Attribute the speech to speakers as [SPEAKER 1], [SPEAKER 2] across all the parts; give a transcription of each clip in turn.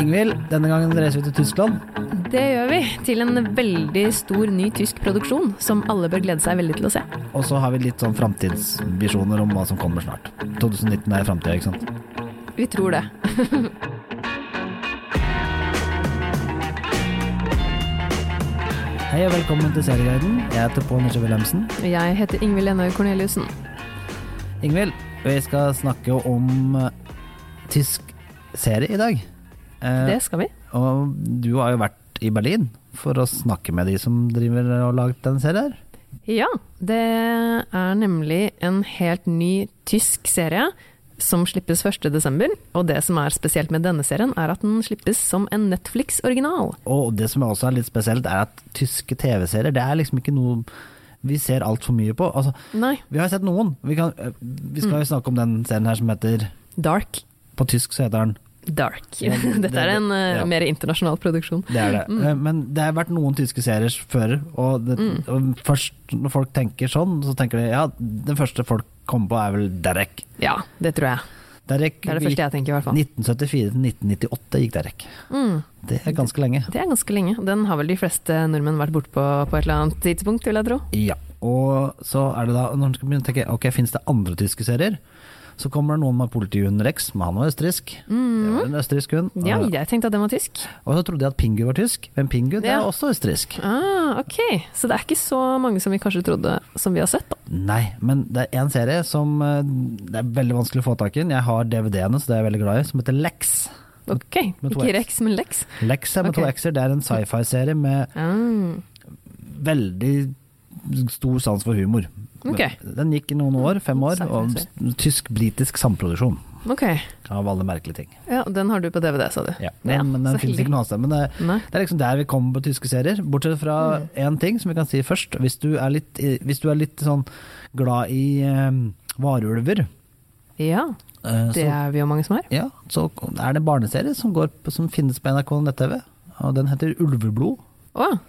[SPEAKER 1] Ingvild, denne gangen reiser vi til Tyskland.
[SPEAKER 2] Det gjør vi. Til en veldig stor ny tysk produksjon som alle bør glede seg veldig til å se.
[SPEAKER 1] Og så har vi litt sånn framtidsvisjoner om hva som kommer snart. 2019 er framtida, ikke sant?
[SPEAKER 2] Vi tror det.
[SPEAKER 1] Hei og velkommen til Serieguiden. Jeg heter Pål Nisje Wilhelmsen.
[SPEAKER 2] Jeg heter Ingvild Enøy Korneliussen.
[SPEAKER 1] Ingvild, vi skal snakke om eh, tysk serie i dag. Eh,
[SPEAKER 2] Det skal vi.
[SPEAKER 1] Og du har jo vært i Berlin for å snakke med de som driver og laget den serien her.
[SPEAKER 2] Ja, det er nemlig en helt ny tysk serie som slippes 1.12. Og det som er spesielt med denne serien, er at den slippes som en Netflix-original.
[SPEAKER 1] Og det som også er litt spesielt, er at tyske TV-serier, det er liksom ikke noe vi ser altfor mye på. Altså,
[SPEAKER 2] Nei,
[SPEAKER 1] vi har sett noen. Vi, kan, eh, vi
[SPEAKER 2] Mm.
[SPEAKER 1] skal jo snakke om den serien her som heter
[SPEAKER 2] Dark.
[SPEAKER 1] På tysk så heter den
[SPEAKER 2] Dark.
[SPEAKER 1] Ja, det-
[SPEAKER 2] Dette er en eh,
[SPEAKER 1] ja.
[SPEAKER 2] mer internasjonal produksjon.
[SPEAKER 1] Det er det.
[SPEAKER 2] Mm.
[SPEAKER 1] Eh, Men det har vært noen tyske serier før, og, det, og først når folk tenker sånn, så tenker de ja, den første folk kommer på er vel Derek.
[SPEAKER 2] Ja, det tror jeg.
[SPEAKER 1] Derek
[SPEAKER 2] Det er det
[SPEAKER 1] gikk
[SPEAKER 2] første jeg tenker, i hvert fall.
[SPEAKER 1] 1974 til 1998 gikk Derek.
[SPEAKER 2] Mm.
[SPEAKER 1] Det er ganske lenge.
[SPEAKER 2] Det er ganske lenge. Den har vel de fleste nordmenn vært bortpå på et eller annet tidspunkt, vil jeg tro.
[SPEAKER 1] Ja, og så er det da Når man skal begynne å tenke ok, finnes det andre tyske serier, så kommer det noen med politihunden Rex, men han var østerriksk. Det var en østerriksk hund.
[SPEAKER 2] Mm. Ja,
[SPEAKER 1] Og-
[SPEAKER 2] jeg tenkte at den var tysk.
[SPEAKER 1] Og så trodde jeg at Pingu var tysk, men Pingu det er
[SPEAKER 2] Ja.
[SPEAKER 1] også østerriksk.
[SPEAKER 2] Ah, ok. Så det er ikke så mange som vi kanskje trodde som vi har sett, da.
[SPEAKER 1] Nei, men det er én serie som eh, det er veldig vanskelig å få tak i. Jeg har DVD-ene, så det er jeg veldig glad i, som heter Lex.
[SPEAKER 2] Ok,
[SPEAKER 1] Med to X.
[SPEAKER 2] ikke Rex, men Lex.
[SPEAKER 1] Lex er med
[SPEAKER 2] Ok.
[SPEAKER 1] to x-er. Det er en sci-fi-serie med
[SPEAKER 2] Ah,
[SPEAKER 1] veldig stor sans for humor.
[SPEAKER 2] Ok.
[SPEAKER 1] Den gikk i noen år, fem år, og tysk-britisk samproduksjon
[SPEAKER 2] ok.
[SPEAKER 1] av alle merkelige ting.
[SPEAKER 2] Ja, den har du på DVD, sa du.
[SPEAKER 1] Ja, men, men
[SPEAKER 2] så
[SPEAKER 1] den finnes
[SPEAKER 2] heldig.
[SPEAKER 1] ikke noe annet sted. Men det,
[SPEAKER 2] Nei.
[SPEAKER 1] det er liksom der vi kommer på tyske serier. Bortsett fra
[SPEAKER 2] Mm.
[SPEAKER 1] én ting som vi kan si først. Hvis du er litt, i- hvis du er litt sånn glad i eh, varulver,
[SPEAKER 2] Ja,
[SPEAKER 1] eh,
[SPEAKER 2] det
[SPEAKER 1] så,
[SPEAKER 2] er vi jo mange som er.
[SPEAKER 1] ja, så er det en barneserie som, går, på- som finnes på NRK nett-TV. Og den heter Ulveblod.
[SPEAKER 2] Å,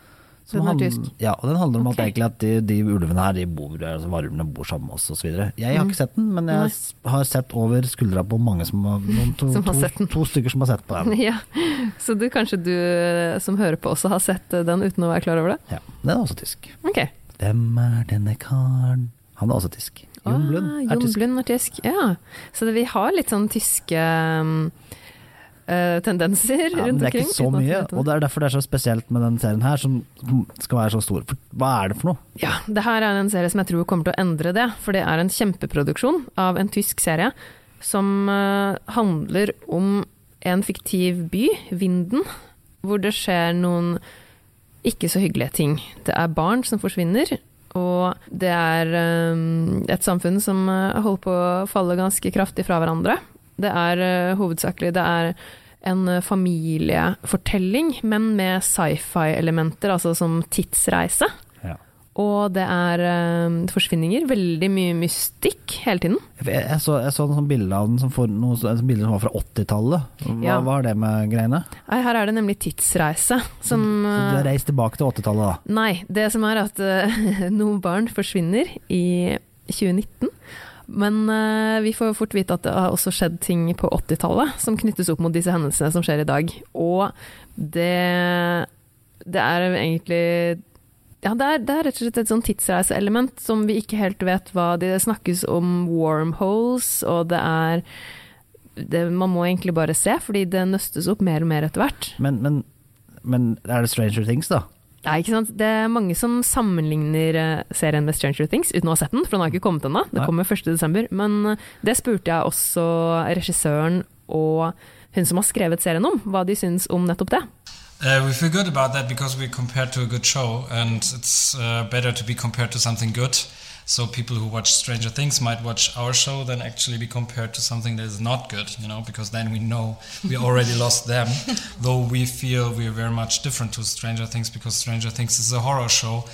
[SPEAKER 1] som
[SPEAKER 2] den er
[SPEAKER 1] handler-
[SPEAKER 2] tysk.
[SPEAKER 1] Ja, og den handler om
[SPEAKER 2] Ok.
[SPEAKER 1] at, egentlig at de, de ulvene her, de bor, altså varulvene bor sammen med oss osv. Jeg har ikke sett den, men jeg
[SPEAKER 2] Mm. Nei.
[SPEAKER 1] s- har sett over skuldra på mange som har, noen to,
[SPEAKER 2] Som har
[SPEAKER 1] to,
[SPEAKER 2] sett den.
[SPEAKER 1] to stykker som har sett på den.
[SPEAKER 2] Ja, så du, kanskje du eh, som hører på også har sett eh, den uten å være klar over det?
[SPEAKER 1] Ja, den er også tysk.
[SPEAKER 2] Ok.
[SPEAKER 1] Hvem er denne karen? Han er også tysk. Jon Blund
[SPEAKER 2] Ah,
[SPEAKER 1] er
[SPEAKER 2] Jon
[SPEAKER 1] tysk.
[SPEAKER 2] Blund er tysk. Ja. Så det, vi har litt sånn tyske um, eh, tendenser
[SPEAKER 1] Ja, men
[SPEAKER 2] rundt
[SPEAKER 1] det er
[SPEAKER 2] omkring.
[SPEAKER 1] ikke så
[SPEAKER 2] uten at vi
[SPEAKER 1] mye,
[SPEAKER 2] vet
[SPEAKER 1] og det er derfor det er så spesielt med denne serien her, som skal være så stor. For hva er det for noe?
[SPEAKER 2] Ja, det her er en serie som jeg tror kommer til å endre det, for det er en kjempeproduksjon av en tysk serie som eh, handler om en fiktiv by, Vinden, hvor det skjer noen ikke så hyggelige ting. Det er barn som forsvinner, og det er eh, et samfunn som eh, holder på å falle ganske kraftig fra hverandre. Det er eh, hovedsakelig det er en eh, familiefortelling, men med sci-fi-elementer, altså som tidsreise. Og det er eh, forsvinninger. Veldig mye mystikk hele tiden.
[SPEAKER 1] Jeg, jeg så, jeg så noen sånne bilder av den som, for, noen sånne bilder som var fra 80-tallet. Hva
[SPEAKER 2] Ja.
[SPEAKER 1] var det med greiene?
[SPEAKER 2] Nei, her er det nemlig tidsreise som
[SPEAKER 1] Så du
[SPEAKER 2] eh,
[SPEAKER 1] har reist tilbake til 80-tallet da?
[SPEAKER 2] Nei, det som er at eh, noen barn forsvinner i 2019. Men eh, vi får fort vite at det har også skjedd ting på 80-tallet som knyttes opp mot disse hendelsene som skjer i dag. Og det, det er egentlig Ja, det er, det er rett og slett et sånn tidsreiseelement som vi ikke helt vet hva Det snakkes om wormholes, og det er det, Man må egentlig bare se, fordi det nøstes opp mer og mer etter hvert.
[SPEAKER 1] Men, men, men er det Stranger Things da?
[SPEAKER 2] Nei, ikke sant? Det er mange som sammenligner eh, serien med Stranger Things uten å ha sett den, for den har ikke kommet ennå. Det
[SPEAKER 1] Nei.
[SPEAKER 2] kommer 1.12. Men eh, det spurte jeg også regissøren og hun som har skrevet serien om, hva de syns om nettopp det.
[SPEAKER 3] Uh, we feel good about that because we're compared to a good show, and it's uh, better to be compared to something good. So people who watch Stranger Things might watch our show than actually be compared to something that is not good, you know, because then we know we already lost them. Though we feel we are very much different to Stranger Things because Stranger Things is a horror show,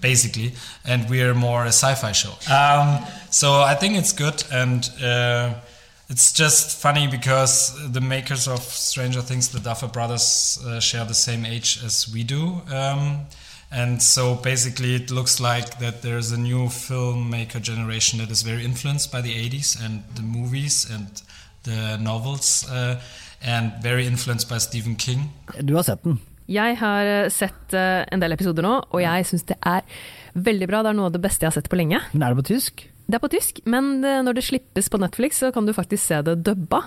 [SPEAKER 3] basically, and we are more a sci-fi show. Um, so I think it's good, and uh, it's just funny because the makers of Stranger Things, the Duffer Brothers, uh, share the same age as we do. Um, and so basically, it looks like that there's a new filmmaker generation that is very influenced by the 80s and the movies and the novels. Uh, and very influenced by Stephen King.
[SPEAKER 1] Du har sett den.
[SPEAKER 2] Jeg har eh, sett eh, en del episoder nå, og jeg syns det er veldig bra. Det er noe av det beste jeg har sett på lenge.
[SPEAKER 1] Men er det på tysk?
[SPEAKER 2] Det er på tysk, men eh, når det slippes på Netflix, så kan du faktisk se det dubba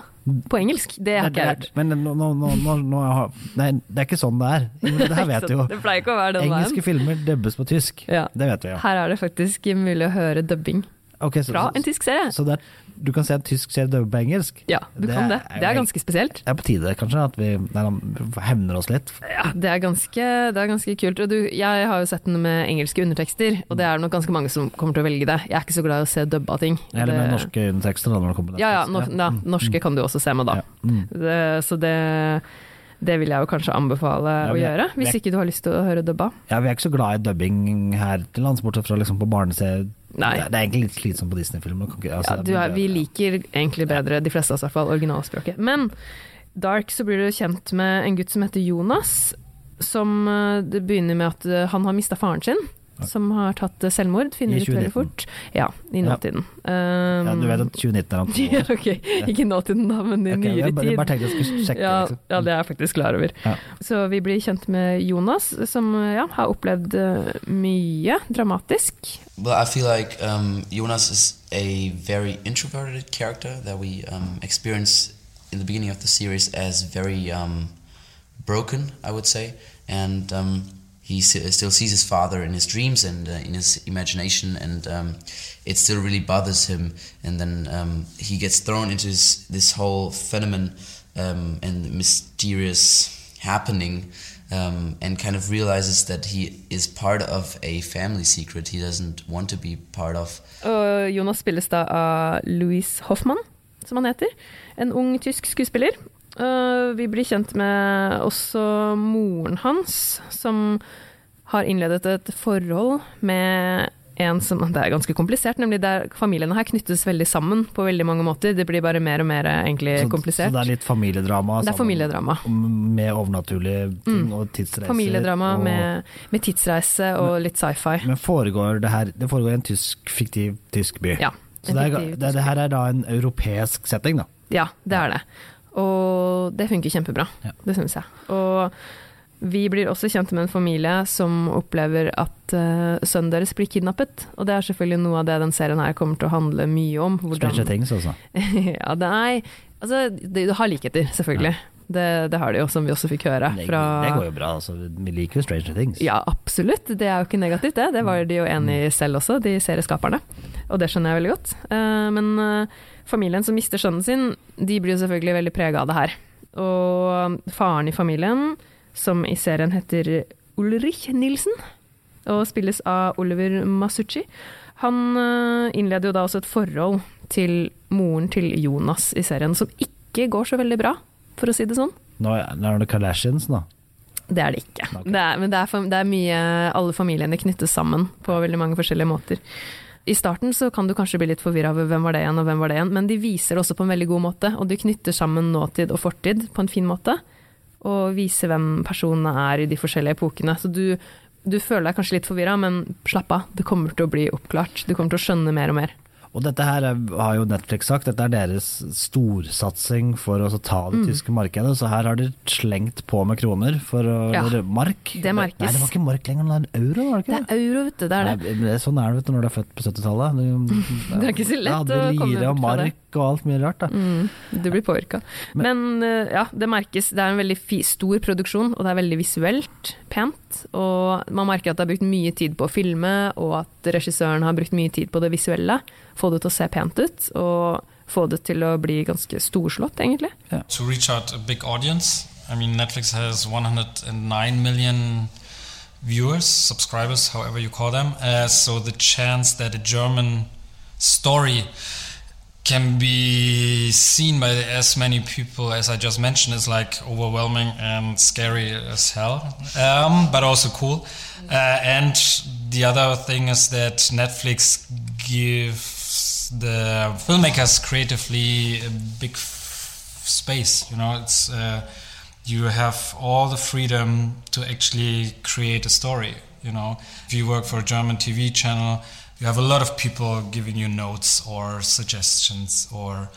[SPEAKER 2] på engelsk. Det har
[SPEAKER 1] Det-
[SPEAKER 2] ikke jeg hørt.
[SPEAKER 1] det- Men nå, nå, nå, nå, nå har- Nei, det er ikke sånn det er. Men Det her vet vi jo.
[SPEAKER 2] Det pleier ikke å være den
[SPEAKER 1] Engelske filmer dubbes på tysk.
[SPEAKER 2] veien. Ja.
[SPEAKER 1] Det vet vi jo.
[SPEAKER 2] Her er det faktisk mulig å høre dubbing
[SPEAKER 1] Ok, så,
[SPEAKER 2] fra en tysk serie.
[SPEAKER 1] så det er, du kan se en tysk serie dubbet på engelsk?
[SPEAKER 2] Ja, du
[SPEAKER 1] Det
[SPEAKER 2] kan det.
[SPEAKER 1] er jo
[SPEAKER 2] Det er
[SPEAKER 1] helt-
[SPEAKER 2] ganske spesielt.
[SPEAKER 1] Det er på tide, kanskje, at vi nei, da, hevner oss litt.
[SPEAKER 2] Ja, det er ganske, det er ganske kult. Og du, jeg har jo sett den med engelske undertekster, og det er nok ganske mange som kommer til å velge det. Jeg er ikke så glad i å se dubba ting.
[SPEAKER 1] Eller med
[SPEAKER 2] Det-
[SPEAKER 1] norske undertekster. Da, når det kommer til
[SPEAKER 2] Ja, ja,
[SPEAKER 1] Netflix.
[SPEAKER 2] no, ja. Norske kan du også se med, da.
[SPEAKER 1] Ja, mm.
[SPEAKER 2] Det, så det, det vil jeg jo kanskje anbefale
[SPEAKER 1] Ja,
[SPEAKER 2] å
[SPEAKER 1] vi er-
[SPEAKER 2] gjøre,
[SPEAKER 1] vi er-
[SPEAKER 2] hvis ikke du har lyst til å høre dubba.
[SPEAKER 1] Ja, vi er ikke så glad i dubbing her til lands, bortsett fra liksom på barneserier.
[SPEAKER 2] Nei.
[SPEAKER 1] Det, det er egentlig litt slitsomt på Disney-filmer. kan ikke- altså,
[SPEAKER 2] Ja, du er, vi liker egentlig bedre, de fleste av oss i hvert fall, originalspråket. Men Dark så blir du kjent med en gutt som heter Jonas, som eh, det begynner med at eh, han har mista faren sin, som har tatt eh, selvmord,
[SPEAKER 1] I
[SPEAKER 2] finner ut
[SPEAKER 1] 2019.
[SPEAKER 2] veldig fort. Ja, i
[SPEAKER 1] Ja.
[SPEAKER 2] nåtiden. Um,
[SPEAKER 1] Ja, du vet at 2019 er om to
[SPEAKER 2] ja,
[SPEAKER 1] år.
[SPEAKER 2] ok, ikke nåtiden da, men i
[SPEAKER 1] Ok,
[SPEAKER 2] nyere
[SPEAKER 1] jeg bare-
[SPEAKER 2] tid.
[SPEAKER 1] bare tenkte jeg skulle sjekke,
[SPEAKER 2] ja,
[SPEAKER 1] liksom.
[SPEAKER 2] ja, det er jeg faktisk klar over.
[SPEAKER 1] Ja.
[SPEAKER 2] Så vi blir kjent med Jonas, som eh, ja, har opplevd eh, mye dramatisk.
[SPEAKER 4] Well, I feel like um, Jonas is a very introverted character that we um, experience in the beginning of the series as very um, broken, I would say, and um, he s- still sees his father in his dreams and uh, in his imagination, and um, it still really bothers him. And then um, he gets thrown into this, this whole phenomenon um, and mysterious happening um, and kind of realizes that he is part of a family secret he doesn't want to be part of.
[SPEAKER 2] Og Jonas spilles da av Louis Hoffmann, som han heter. En ung tysk skuespiller. Eh, vi blir kjent med også moren hans, som har innledet et forhold med en som Det er ganske komplisert, nemlig der familiene her knyttes veldig sammen på veldig mange måter. Det blir bare mer og mer eh, egentlig
[SPEAKER 1] Mm. Så,
[SPEAKER 2] komplisert.
[SPEAKER 1] så det er litt familiedrama?
[SPEAKER 2] det er
[SPEAKER 1] sammen
[SPEAKER 2] familiedrama. Mm.
[SPEAKER 1] Med overnaturlige ting og tidsreiser.
[SPEAKER 2] Familiedrama
[SPEAKER 1] og-
[SPEAKER 2] med, med tidsreise og litt sci-fi.
[SPEAKER 1] Men foregår det her Det foregår i en tysk, fiktiv tysk by.
[SPEAKER 2] Ja,
[SPEAKER 1] så
[SPEAKER 2] en
[SPEAKER 1] det, er,
[SPEAKER 2] fiktiv
[SPEAKER 1] det,
[SPEAKER 2] tysk
[SPEAKER 1] det her er da en europeisk setting, da.
[SPEAKER 2] Ja, det er det. Og det funker kjempebra.
[SPEAKER 1] Ja.
[SPEAKER 2] Det syns jeg. Og vi blir også kjent med en familie som opplever at eh, sønnen deres blir kidnappet. Og det er selvfølgelig noe av det den serien her kommer til å handle mye om.
[SPEAKER 1] Stranger Things, altså.
[SPEAKER 2] ja, det er, altså, det, det har likheter, selvfølgelig. Det, det har det jo, som vi også fikk høre
[SPEAKER 1] Det,
[SPEAKER 2] fra
[SPEAKER 1] det går jo bra, altså. Vi liker jo Stranger Things.
[SPEAKER 2] ja, absolutt. Det er jo ikke negativt, det. Det var de jo enig i selv også, de serieskaperne. Og det skjønner jeg veldig godt. Eh, Men eh, familien som mister sønnen sin, de blir jo selvfølgelig veldig prega av det her. Og eh, faren i familien, som i serien heter Ulrich Nilsen, og spilles av Oliver Masucci, han eh, innleder jo da også et forhold til moren til Jonas i serien, som ikke går så veldig bra, for å si det sånn.
[SPEAKER 1] Nå, er- nå er det Kardashians, da.
[SPEAKER 2] Det er det ikke.
[SPEAKER 1] Ok.
[SPEAKER 2] Det er, men det er, fam- det er mye Alle familiene knyttes sammen på veldig mange forskjellige måter. I starten så kan du kanskje bli litt forvirra over hvem var det igjen og hvem var det igjen, men de viser det også på en veldig god måte, og du knytter sammen nåtid og fortid på en fin måte. Og viser hvem personene er i de forskjellige epokene. Så du, du føler deg kanskje litt forvirra, men slapp av, det kommer til å bli oppklart. Du kommer til å skjønne mer og mer.
[SPEAKER 1] Og dette her er- har jo Netflix sagt, dette er deres storsatsing for å så ta
[SPEAKER 2] Mm.
[SPEAKER 1] det tyske markedet, så her har de slengt på med kroner for å
[SPEAKER 2] Ja.
[SPEAKER 1] Eller mark?
[SPEAKER 2] Det merkes.
[SPEAKER 1] Nei, det var ikke mark lenger, det er euro, var det
[SPEAKER 2] Det
[SPEAKER 1] ikke det?
[SPEAKER 2] er euro, vet du. Det er det.
[SPEAKER 1] Nei, men sånn er det vet du, når du er født på 70-tallet. Du-
[SPEAKER 2] Det er ikke så lett
[SPEAKER 1] ja,
[SPEAKER 2] å
[SPEAKER 1] det
[SPEAKER 2] komme
[SPEAKER 1] lire og
[SPEAKER 2] bort fra det.
[SPEAKER 1] mark og alt mye rart. Da.
[SPEAKER 2] Du blir påvirka. Men, eh, ja, det merkes. Det er en veldig fi, stor produksjon, og det er veldig visuelt pent. Og man merker at det er brukt mye tid på å filme, og at regissøren har brukt mye tid på det visuelle. Få det til å se pent ut, og få det til å bli ganske storslått, egentlig.
[SPEAKER 3] to reach out a big audience. I mean, Netflix has 109 million viewers, subscribers, however you call them. Uh, so the chance that a German story can be seen by as many people as I just mentioned is like overwhelming and scary as hell, um, but also cool. Uh, and the other thing is that Netflix gives the filmmakers creatively a big f- space. You know, it's uh, you have all the freedom to actually create a story. You know, if you work for a German TV channel, you have a lot of people giving you notes or suggestions or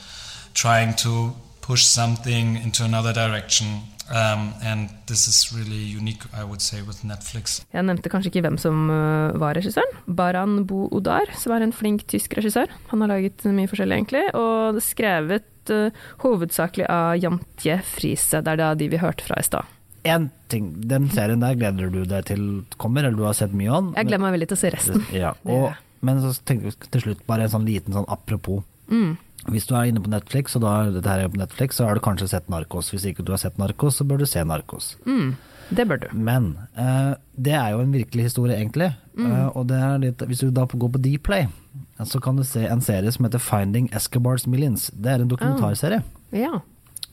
[SPEAKER 3] trying to push something into another direction. Um, and this is really unique, I would say, with Netflix.
[SPEAKER 2] Jeg nevnte kanskje ikke hvem som øh, var regissøren. Baran Bo Odar, som er en flink tysk regissør. Han har laget mye forskjellig, egentlig. Og det er skrevet øh, hovedsakelig av Jantje Friese. Det er da de vi hørte fra i stad.
[SPEAKER 1] Én ting, den serien der gleder du deg til kommer, eller du har sett mye av den?
[SPEAKER 2] Jeg gleder meg veldig til å se resten.
[SPEAKER 1] Ja, og, men så tenker vi til slutt bare en sånn liten sånn apropos.
[SPEAKER 2] Mm.
[SPEAKER 1] Hvis du er inne på Netflix, og da er dette her på Netflix, så har du kanskje sett Narkos. Hvis ikke du har sett Narkos, så bør du se Narkos.
[SPEAKER 2] Mm, Det bør du.
[SPEAKER 1] Men eh, det er jo en virkelig historie, egentlig.
[SPEAKER 2] Mm.
[SPEAKER 1] Eh, og det er litt, hvis du da går på Dplay, så kan du se en serie som heter Finding Escobars Millions. Det er en dokumentarserie
[SPEAKER 2] Ja.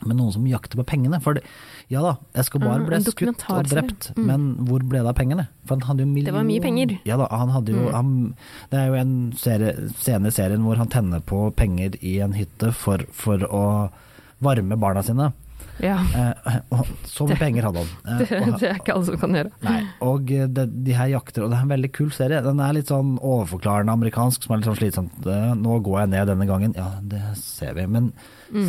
[SPEAKER 1] med noen som jakter på pengene. For det, ja da, Escobar
[SPEAKER 2] Ah,
[SPEAKER 1] ble
[SPEAKER 2] en
[SPEAKER 1] skutt og
[SPEAKER 2] dokumentarserie. Mm.
[SPEAKER 1] drept, men hvor ble det av pengene? For han hadde jo million...
[SPEAKER 2] Det var mye penger. Mm.
[SPEAKER 1] Ja da, han hadde jo han, Det er jo en serie, scene i serien hvor han tenner på penger i en hytte for, for å varme barna sine.
[SPEAKER 2] ja.
[SPEAKER 1] Eh, og så mye penger hadde han. Eh,
[SPEAKER 2] Det,
[SPEAKER 1] og han-
[SPEAKER 2] det er ikke alle som kan gjøre.
[SPEAKER 1] Nei, og eh, det, de her jakter, og det er en veldig kul serie. Den er litt sånn overforklarende amerikansk, som er litt sånn slitsomt. Eh, Nå går jeg ned denne gangen, ja, det ser vi. Men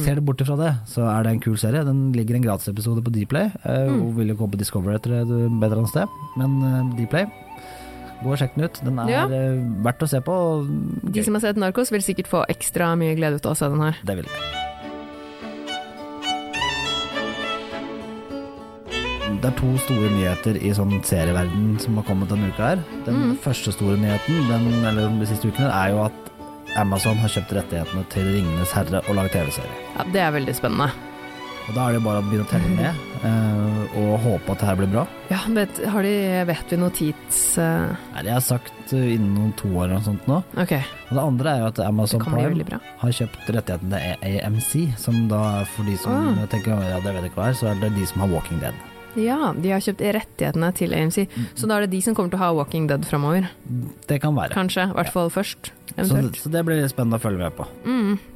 [SPEAKER 1] ser du bort ifra det, så er det en kul serie. Den ligger en gratisepisode på Dplay. eh, Hun vil jo gå på Discovery etter et bedre annet sted, men eh, Dplay, gå og sjekk den ut. Den er
[SPEAKER 2] Ja.
[SPEAKER 1] eh, verdt å se på. og
[SPEAKER 2] De
[SPEAKER 1] gøy.
[SPEAKER 2] som har sett Narkos, vil sikkert få ekstra mye glede ut av å se den her.
[SPEAKER 1] Det vil jeg. Det er to store nyheter i sånn serieverden som har kommet denne uka her. Den
[SPEAKER 2] Mm.
[SPEAKER 1] første store nyheten den, eller de siste ukene er jo at Amazon har kjøpt rettighetene til Ringenes herre og laget TV-serie.
[SPEAKER 2] Ja, det er veldig spennende.
[SPEAKER 1] Og Da er det jo bare å begynne å telle ned eh, og håpe at det her blir bra.
[SPEAKER 2] Ja, vet, har de, vet vi noe tids... eh,
[SPEAKER 1] Nei, Det har jeg sagt eh, innen noen to år eller noe sånt nå.
[SPEAKER 2] ok,
[SPEAKER 1] Og det andre er jo at
[SPEAKER 2] det
[SPEAKER 1] Amazon
[SPEAKER 2] kan bli
[SPEAKER 1] Prime
[SPEAKER 2] veldig bra.
[SPEAKER 1] har kjøpt rettighetene til AMC, som da er for de som
[SPEAKER 2] Ah.
[SPEAKER 1] tenker ja, det vet jeg ikke hva er, så er det de som har Walking Dead.
[SPEAKER 2] Ja, de har kjøpt rettighetene til AMC, så da er det de som kommer til å ha Walking Dead framover.
[SPEAKER 1] Det kan være.
[SPEAKER 2] Kanskje, i hvert fall først,
[SPEAKER 1] Så,
[SPEAKER 2] eventuelt. Mm.
[SPEAKER 1] så det blir litt spennende å følge med på.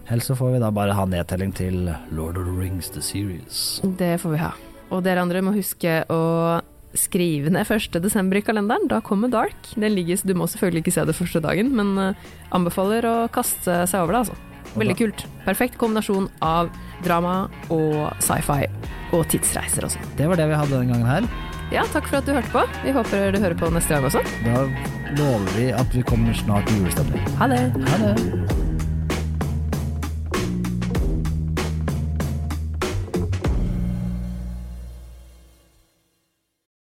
[SPEAKER 1] Helst så får vi da bare ha nedtelling til Lord of the Rings The Series.
[SPEAKER 2] Det får vi ha. Og dere andre må huske å skrive ned 1. desember i kalenderen, da kommer Dark. Den ligger, du må selvfølgelig ikke se det første dagen, men eh, anbefaler å kaste seg over det, altså. Veldig kult. Perfekt kombinasjon av drama og sci-fi og tidsreiser og sånn.
[SPEAKER 1] Det var det vi hadde denne gangen her.
[SPEAKER 2] Ja, takk for at du hørte på. Vi håper du hører på neste gang også.
[SPEAKER 1] Da lover vi at vi kommer snart til julestemning.
[SPEAKER 2] Ha det!
[SPEAKER 1] Ha det.